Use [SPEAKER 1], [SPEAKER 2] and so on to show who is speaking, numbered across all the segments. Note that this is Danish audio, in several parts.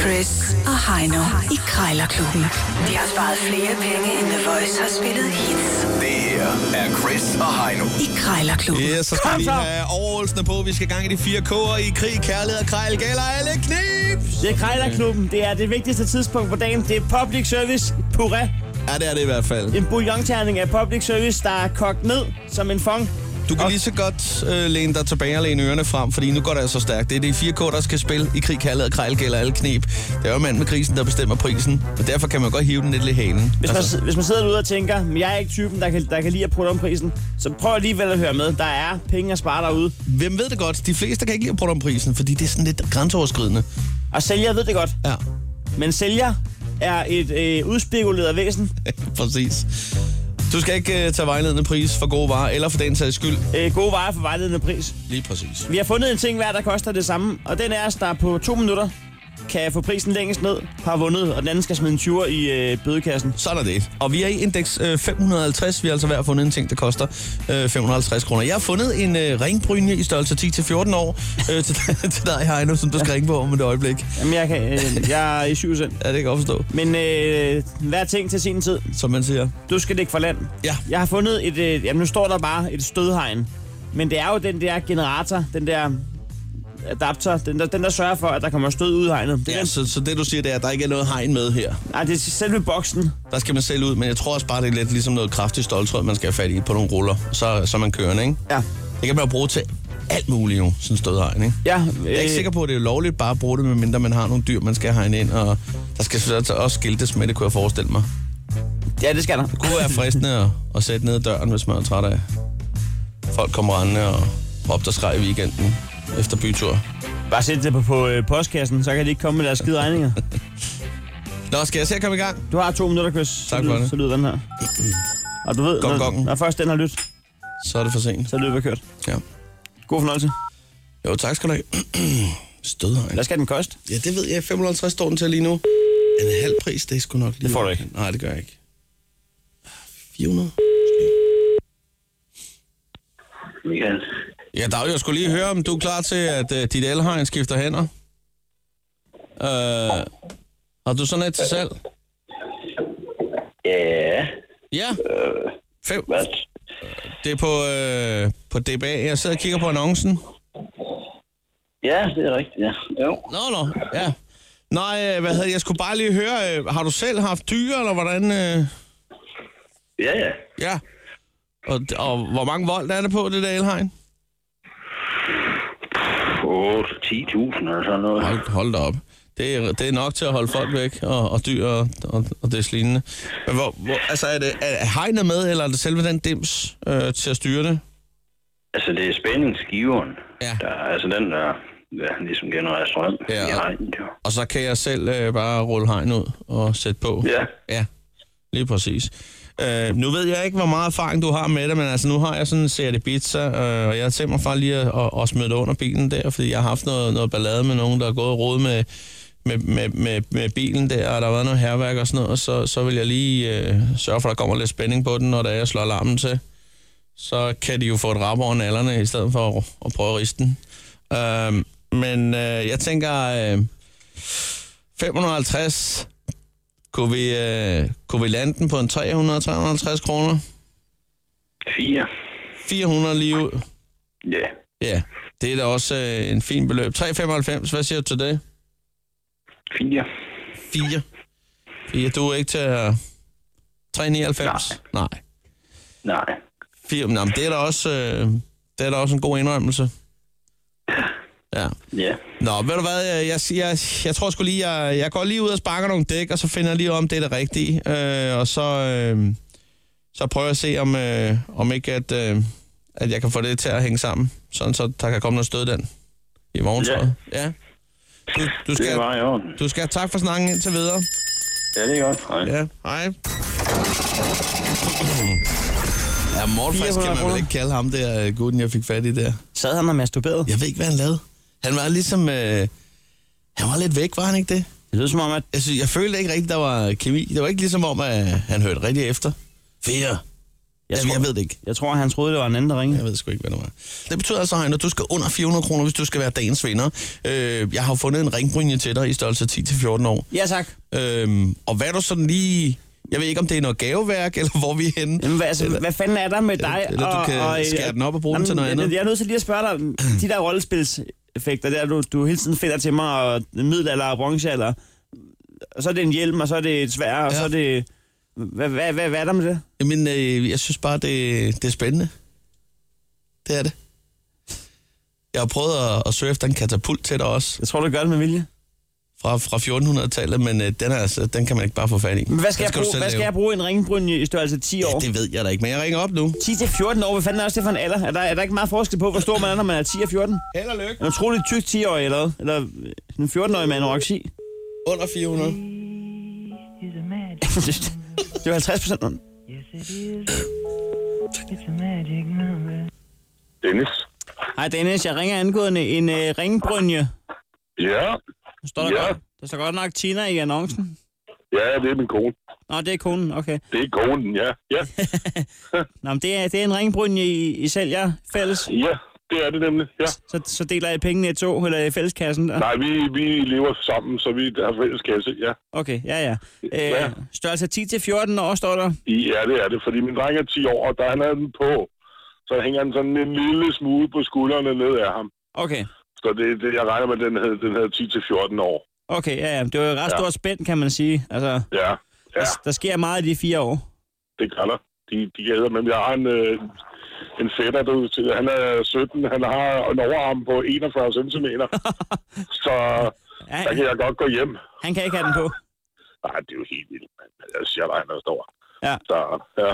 [SPEAKER 1] Chris og Heino i Krejlerklubben. De har sparet flere penge, end The Voice har spillet hits
[SPEAKER 2] Det her er Chris og Heino.
[SPEAKER 1] i Krejlerklubben.
[SPEAKER 3] Ja, så skal vi lige have overholdsene på. Vi skal i gang i de fire K'er i krig, kærlighed og krejl. Gælder alle knips!
[SPEAKER 4] Det er Krejlerklubben. Det er det vigtigste tidspunkt på dagen. Det er public service. Pura.
[SPEAKER 3] Ja, det er det i hvert fald.
[SPEAKER 4] En bouillonterning af public service, der er kogt ned som en fong.
[SPEAKER 3] Du kan lige så godt øh, læne dig tilbage og læne ørerne frem, fordi nu går det altså stærkt. Det er de fire K'er, der skal spille i krig, kærlighed og krejl. Gælder alle knep. Det er jo mand med krisen, der bestemmer prisen. Og derfor kan man godt hive den lidt i halen.
[SPEAKER 4] Hvis man,
[SPEAKER 3] Altså,
[SPEAKER 4] hvis man sidder derude og tænker, men jeg er ikke typen, der kan, der kan lide at putte om prisen, så prøv alligevel at høre med. Der er penge at spare derude.
[SPEAKER 3] hvem ved det godt? De fleste kan ikke lide at bruge om prisen, fordi det er sådan lidt grænseoverskridende.
[SPEAKER 4] Og sælger ved det godt,
[SPEAKER 3] Ja,
[SPEAKER 4] men sælger er et øh, udspekuleret væsen.
[SPEAKER 3] præcis. Du skal ikke øh, tage vejledende pris for gode varer, eller for den sags skyld.
[SPEAKER 4] Øh, gode varer for vejledende pris.
[SPEAKER 3] Lige præcis.
[SPEAKER 4] Vi har fundet en ting hver, der koster det samme, og den er os, der på to minutter kan få prisen længst ned, har vundet, og den anden skal smide en 20'er i øh, bødekassen.
[SPEAKER 3] Sådan er det. Og vi er i indeks øh, 550. Vi har altså hver fundet en ting, der koster øh, 550 kroner. Jeg har fundet en øh, ringbrynje i størrelse 10-14 år øh, til, til dig, Heino, som du skal ringe på om et øjeblik.
[SPEAKER 4] Jamen, jeg, kan, øh, jeg er i 7 cent.
[SPEAKER 3] Ja, det kan jeg godt forstå,
[SPEAKER 4] Men øh, hver ting til sin tid.
[SPEAKER 3] som man siger.
[SPEAKER 4] Du skal ligge for land.
[SPEAKER 3] Ja.
[SPEAKER 4] Jeg har fundet et, øh, jamen nu står der bare et stødhegn. Men det er jo den der generator, den der adapter, den der, den der sørger for, at der kommer stød ud i hegnet. Det er
[SPEAKER 3] Ja,
[SPEAKER 4] den,
[SPEAKER 3] så, så det du siger, det er, at der ikke er noget hegn med her.
[SPEAKER 4] nej, det er selve boksen.
[SPEAKER 3] Der skal man selv ud, men jeg tror også bare, det er lidt ligesom noget kraftigt stoltråd, man skal have fat i på nogle ruller. Så, så er man kørende, ikke?
[SPEAKER 4] Ja.
[SPEAKER 3] Det kan man jo bruge til alt muligt jo, sådan stød hegn, ikke?
[SPEAKER 4] Ja, øh,
[SPEAKER 3] Jeg er ikke sikker på, at det er lovligt bare at bruge det, medmindre man har nogle dyr, man skal hegne ind, og der skal så også skiltes med, det kunne jeg forestille mig.
[SPEAKER 4] Ja, det skal der.
[SPEAKER 3] Det kunne være fristende at, at sætte ned ad døren, hvis man er træt af. Folk kommer rendende og råbte og skreg i weekenden efter bytur.
[SPEAKER 4] Bare sæt det på, på øh, postkassen, så kan de ikke komme med deres skide regninger.
[SPEAKER 3] Nå, skal jeg se at komme i gang?
[SPEAKER 4] Du har to minutter, Chris.
[SPEAKER 3] Tak for
[SPEAKER 4] så, lyder-
[SPEAKER 3] det.
[SPEAKER 4] Så lyder den her. Og du ved,
[SPEAKER 3] Gong,
[SPEAKER 4] når,
[SPEAKER 3] gong.
[SPEAKER 4] når først den har lyttet,
[SPEAKER 3] Så er det for sent.
[SPEAKER 4] så er løbet kørt.
[SPEAKER 3] Ja.
[SPEAKER 4] God fornøjelse.
[SPEAKER 3] Jo, tak skal du have. Stødhegn.
[SPEAKER 4] Hvad skal den koste?
[SPEAKER 3] Ja, det ved jeg. 550 står den til lige nu. En halv pris, det er sgu nok lige
[SPEAKER 4] Det får du
[SPEAKER 3] i
[SPEAKER 4] ikke.
[SPEAKER 3] overkanten. Nej, det gør jeg ikke. 400?
[SPEAKER 5] Michael.
[SPEAKER 3] Ja, Dag, jeg skulle lige høre, om du er klar til, at uh, dit elhegn skifter hænder. Uh, har du sådan et til salg?
[SPEAKER 5] Ja,
[SPEAKER 3] Ja. Fem.
[SPEAKER 5] hvad?
[SPEAKER 3] Det er på, øh, på DBA. Jeg sidder og kigger på annoncen.
[SPEAKER 5] Ja, det er rigtigt, ja. Jo.
[SPEAKER 3] Nå, nå, ja. Nej, øh, hvad hedder, jeg skulle bare lige høre, øh, har du selv haft dyr, eller hvordan? Øh,
[SPEAKER 5] Ja, ja.
[SPEAKER 3] ja. Og, og hvor mange volt er det på, det der elhegn?
[SPEAKER 5] På 10.000 eller sådan noget.
[SPEAKER 3] Hold, hold da op. Det er, det er nok til at holde folk væk, og, og dyr og, og, og det lignende. Men hvor, hvor, altså, er, det, er, er hegnet med, eller er det selve den dims øh, til at styre det?
[SPEAKER 5] Altså, det er spændingsgiveren.
[SPEAKER 3] Ja.
[SPEAKER 5] Der, er- altså, den der ja, ligesom genererer strøm
[SPEAKER 3] Ja.
[SPEAKER 5] ja. i hegnet, jo.
[SPEAKER 3] Og så kan jeg selv øh, bare rulle hegn ud og sætte på.
[SPEAKER 5] Ja.
[SPEAKER 3] Ja, lige præcis. Øh, nu ved jeg ikke, hvor meget erfaring du har med det, men altså nu har jeg sådan en serie pizza, øh, og jeg har tænkt mig faktisk lige at, at, at smide det under bilen der, fordi jeg har haft noget, noget ballade med nogen, der er gået og rodet med, med, med, med, med bilen der, og der har været noget herværk og sådan noget, og så, så vil jeg lige øh, sørge for, at der kommer lidt spænding på den, når der jeg slår alarmen til. Så kan de jo få et rap over nallerne, i stedet for at, at prøve at riste den. Øh, men øh, jeg tænker, øh, 550 kunne vi, øh, kunne vi lande den på en 300-350 kroner?
[SPEAKER 5] Fire.
[SPEAKER 3] 400 lige ud.
[SPEAKER 5] Ja.
[SPEAKER 3] Ja, det er da også øh, en fin beløb. 395, hvad siger du til det?
[SPEAKER 5] Fire.
[SPEAKER 3] 4. 4, du er ikke til at... 399? Nej. Nej.
[SPEAKER 5] Nej.
[SPEAKER 3] 4, nej, men det er da også, øh, det er da også en god indrømmelse. Ja.
[SPEAKER 5] Ja.
[SPEAKER 3] Nå, ved du hvad, jeg, jeg, jeg, jeg tror sgu lige, jeg, jeg går lige ud og sparker nogle dæk, og så finder jeg lige ud af, om det er det rigtige. Øh, og så, øh, så prøver jeg at se, om, øh, om ikke at, øh, at jeg kan få det til at hænge sammen, sådan så der kan komme noget stød den i morgen,
[SPEAKER 5] Ja.
[SPEAKER 3] tror jeg. Ja. Du, du,
[SPEAKER 5] Det
[SPEAKER 3] skal,
[SPEAKER 5] er bare i orden.
[SPEAKER 3] du skal have tak for snakken indtil videre.
[SPEAKER 5] Ja, det er godt. Hej. Ja.
[SPEAKER 3] Ja, hej. Ja, Mortfast
[SPEAKER 4] 400
[SPEAKER 3] kan man
[SPEAKER 4] kroner.
[SPEAKER 3] vel ikke kalde ham der øh, gutten, jeg fik fat i der.
[SPEAKER 4] Sad han og masturberede?
[SPEAKER 3] Jeg ved ikke, hvad han lavede. Han var ligesom... Øh, han var lidt væk, var han ikke det?
[SPEAKER 4] Det lyder som om, at
[SPEAKER 3] Altså, Jeg, synes, jeg følte ikke rigtigt, der var kemi. Det var ikke ligesom om, at han hørte rigtig efter. Fire.
[SPEAKER 4] Jeg,
[SPEAKER 3] Jamen,
[SPEAKER 4] tror,
[SPEAKER 3] jeg ved det ikke.
[SPEAKER 4] jeg tror, han troede, det var en anden, der ringede.
[SPEAKER 3] Jeg ved sgu ikke, hvad det var. Det betyder altså, Heino, at du skal under 400 kroner, hvis du skal være dagens vinder. Øh, jeg har jo fundet en ringbrynje til dig i størrelse 10-14 år.
[SPEAKER 4] Ja, tak.
[SPEAKER 3] Øhm, og hvad er du sådan lige... Jeg ved ikke, om det er noget gaveværk, eller hvor vi er henne.
[SPEAKER 4] Jamen, hvad, altså, hvad fanden er der med dig?
[SPEAKER 3] eller du
[SPEAKER 4] og,
[SPEAKER 3] kan
[SPEAKER 4] og, øh,
[SPEAKER 3] skære den op og bruge den til noget
[SPEAKER 4] jeg-
[SPEAKER 3] andet.
[SPEAKER 4] Jeg er nødt til lige at spørge dig, de der rollespilseffekter, der du, du hele tiden fedter til mig, og middelalder og bronzealder, og så er det en hjelm, og så er det et svær, og
[SPEAKER 3] Ja.
[SPEAKER 4] så er det... Hvad, hvad, hvad, hvad er der med det?
[SPEAKER 3] Jamen, øh, jeg synes bare, det, det er spændende. Det er det. Jeg har prøvet at, at søge efter en katapult til dig også,
[SPEAKER 4] Jeg tror, du gør det med vilje.
[SPEAKER 3] fra, fra 1400-tallet, men øh, den, er, altså, den kan man ikke bare få fat i.
[SPEAKER 4] Men hvad
[SPEAKER 3] Den
[SPEAKER 4] skal,
[SPEAKER 3] du
[SPEAKER 4] jeg, bruge,
[SPEAKER 3] selv
[SPEAKER 4] hvad skal
[SPEAKER 3] lave.
[SPEAKER 4] jeg bruge en ringbrynje i størrelse 10 år?
[SPEAKER 3] Ja, det ved jeg da ikke, men jeg ringer op nu.
[SPEAKER 4] 10-14 år, hvad fanden er også det for en alder? Er der, er der ikke meget forskel på, hvor stor man er, når man er 10 og 14?
[SPEAKER 3] Held og lykke.
[SPEAKER 4] En utrolig tyk 10-årig eller hvad? Eller øh, en 14-årig med anoreksi?
[SPEAKER 3] Under 400.
[SPEAKER 6] He's a magic,
[SPEAKER 4] det var 50 procent.
[SPEAKER 6] yes it is. It's a magic number.
[SPEAKER 7] Dennis?
[SPEAKER 4] Hej Dennis, jeg ringer angående en øh, ringbrynje.
[SPEAKER 7] Ja,
[SPEAKER 4] Der står, der,
[SPEAKER 7] Ja.
[SPEAKER 4] godt, der står godt nok Tina i annoncen.
[SPEAKER 7] ja, det er min kone.
[SPEAKER 4] Nå, det er konen, okay.
[SPEAKER 7] Det er konen, ja. Ja,
[SPEAKER 4] Nå, men det er, det er en ringbrynje, I, I sælger fælles.
[SPEAKER 7] ja det er det nemlig, ja.
[SPEAKER 4] Så, så deler I pengene i to, eller i fælleskassen der.
[SPEAKER 7] Nej, vi, vi lever sammen, så vi har fælles kasse, ja.
[SPEAKER 4] Okay, ja, ja.
[SPEAKER 7] Ja.
[SPEAKER 4] Øh, størrelse 10-14 år står der.
[SPEAKER 7] Ja, det er det, fordi min dreng er 10 år, og der han er den på, så hænger han sådan en lille smule på skuldrene ned af ham.
[SPEAKER 4] Okay,
[SPEAKER 7] Så det, det jeg regner med, den havde, den havde 10-14 år.
[SPEAKER 4] okay, ja, ja. Det var jo et ret
[SPEAKER 7] Ja.
[SPEAKER 4] stort spænd, kan man sige. Altså, ja.
[SPEAKER 7] Ja, ja,
[SPEAKER 4] der, der sker meget i de fire år.
[SPEAKER 7] det gør der. De, de gælder, men jeg har en, øh, en fætter, du, til- han er 17, han har en overarm på 41 cm. så
[SPEAKER 4] Ja,
[SPEAKER 7] der kan jeg godt gå hjem.
[SPEAKER 4] han kan ikke have den på.
[SPEAKER 7] Nej, Ah, det er jo helt vildt, mand. Altså, Jeg siger dig, han er stor.
[SPEAKER 4] Ja.
[SPEAKER 7] Så, ja.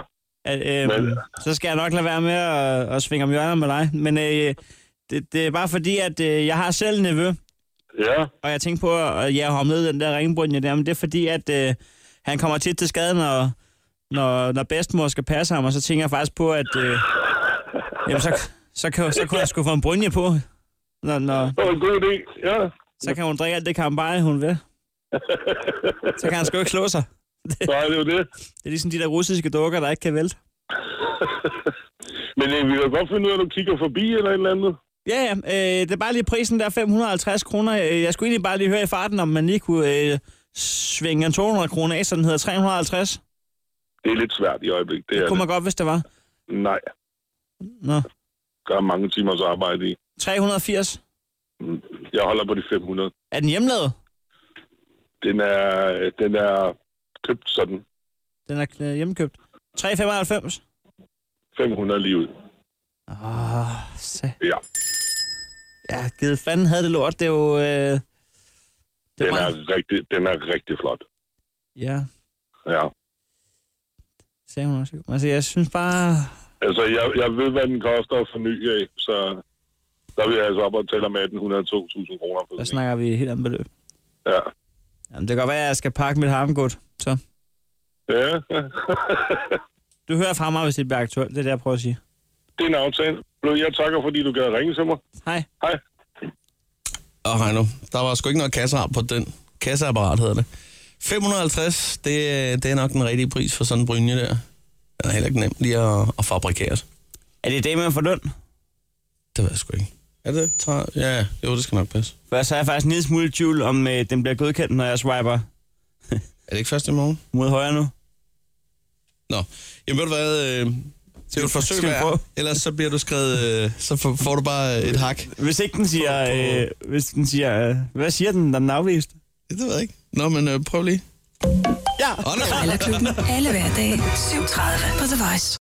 [SPEAKER 4] At, øh,
[SPEAKER 7] Men-
[SPEAKER 4] så skal jeg nok lade være med at, at svinge om hjørner med dig. Men øh, det, det er bare fordi, at øh, jeg har selv en nevø,
[SPEAKER 7] Ja,
[SPEAKER 4] og jeg tænkte på at jeg har med den der ringbrynje der, men det er fordi, at øh, han kommer tit til skade, når, når, når bedstemor skal passe ham, og så tænker jeg faktisk på, at øh, jamen, så, så, kan, så kunne jeg sgu få en brynje på, når, når,
[SPEAKER 7] det var en god idé. Ja,
[SPEAKER 4] så kan hun drikke alt det karambaje, hun vil. Så kan han sgu ikke slå sig.
[SPEAKER 7] nej, det er jo det.
[SPEAKER 4] Det er ligesom de der russiske dukker, der ikke kan vælte.
[SPEAKER 7] Men øh, vi kan godt finde ud af, at du kigger forbi eller et eller andet.
[SPEAKER 4] Ja, ja. Øh, det er bare lige prisen der, 550 kroner. Øh, Jeg skulle egentlig bare lige høre i farten, om man lige kunne øh, svinge en 200 kroner af, så den hedder 350.
[SPEAKER 7] Det er lidt svært i øjeblikket. Det
[SPEAKER 4] Det
[SPEAKER 7] er
[SPEAKER 4] kunne
[SPEAKER 7] det.
[SPEAKER 4] man godt, hvis det var.
[SPEAKER 7] Nej,
[SPEAKER 4] Nå,
[SPEAKER 7] der er mange timers arbejde i.
[SPEAKER 4] 380.
[SPEAKER 7] Mm, Jeg holder på de 500.
[SPEAKER 4] Er den hjemlavet?
[SPEAKER 7] Den er, den er købt sådan
[SPEAKER 4] Den er øh, hjemkøbt. 395.
[SPEAKER 7] 500 lige ud.
[SPEAKER 4] Åh, Ah, se.
[SPEAKER 7] Ja,
[SPEAKER 4] Ja, givet fanden havde det lort. Det er jo... Øh, det
[SPEAKER 7] den
[SPEAKER 4] er
[SPEAKER 7] er,
[SPEAKER 4] meget,
[SPEAKER 7] rigtig, den er rigtig flot.
[SPEAKER 4] ja,
[SPEAKER 7] Ja.
[SPEAKER 4] sagde hun også. Altså, jeg synes bare...
[SPEAKER 7] Altså, jeg, jeg ved, hvad den koster at forny af, så der vil jeg altså op og tælle om 1.800-2.000 kroner. for
[SPEAKER 4] Der
[SPEAKER 7] sådan en.
[SPEAKER 4] snakker vi et helt andet beløb.
[SPEAKER 7] Ja.
[SPEAKER 4] Jamen, det kan godt være, at jeg skal pakke mit harmgud. Så
[SPEAKER 7] Ja,
[SPEAKER 4] du hører fra mig, hvis det bliver aktuelt. Det er det, jeg prøver at sige.
[SPEAKER 7] det er en aftale. Blå, Jeg takker, fordi du gad ringe til mig.
[SPEAKER 4] Hej.
[SPEAKER 7] Hej.
[SPEAKER 3] Og Heino, der var sgu ikke noget kasseapparat på den. Kasseapparat hedder det. 550, det, øh, det er nok den rigtige pris for sådan en brynje der. Den er heller ikke nem lige at, at fabrikere.
[SPEAKER 4] Er det det, man får løn?
[SPEAKER 3] Det ved jeg sgu ikke. Er det? Tre? Ja, jo, det skal nok passe.
[SPEAKER 4] For så er jeg faktisk en lille smule i tvivl, om øh, den bliver godkendt, når jeg swiper
[SPEAKER 3] Er det ikke først i morgen?
[SPEAKER 4] mod højre nu.
[SPEAKER 3] Nå, jamen ved du hvad, øh, det er jo et forsøg
[SPEAKER 4] skal vi prøve?
[SPEAKER 3] værd. Ellers så bliver du skrevet, øh, så får, får du bare et hak.
[SPEAKER 4] Hvis ikke den siger... Øh, hvis den siger øh, hvad siger den, når den er afvist?
[SPEAKER 3] Det ved jeg ikke. Nå, men øh, prøv lige.
[SPEAKER 4] Ja!
[SPEAKER 3] Åh, nej.
[SPEAKER 1] Krejlerklubben. Alle hverdage. 7.30 på The Voice.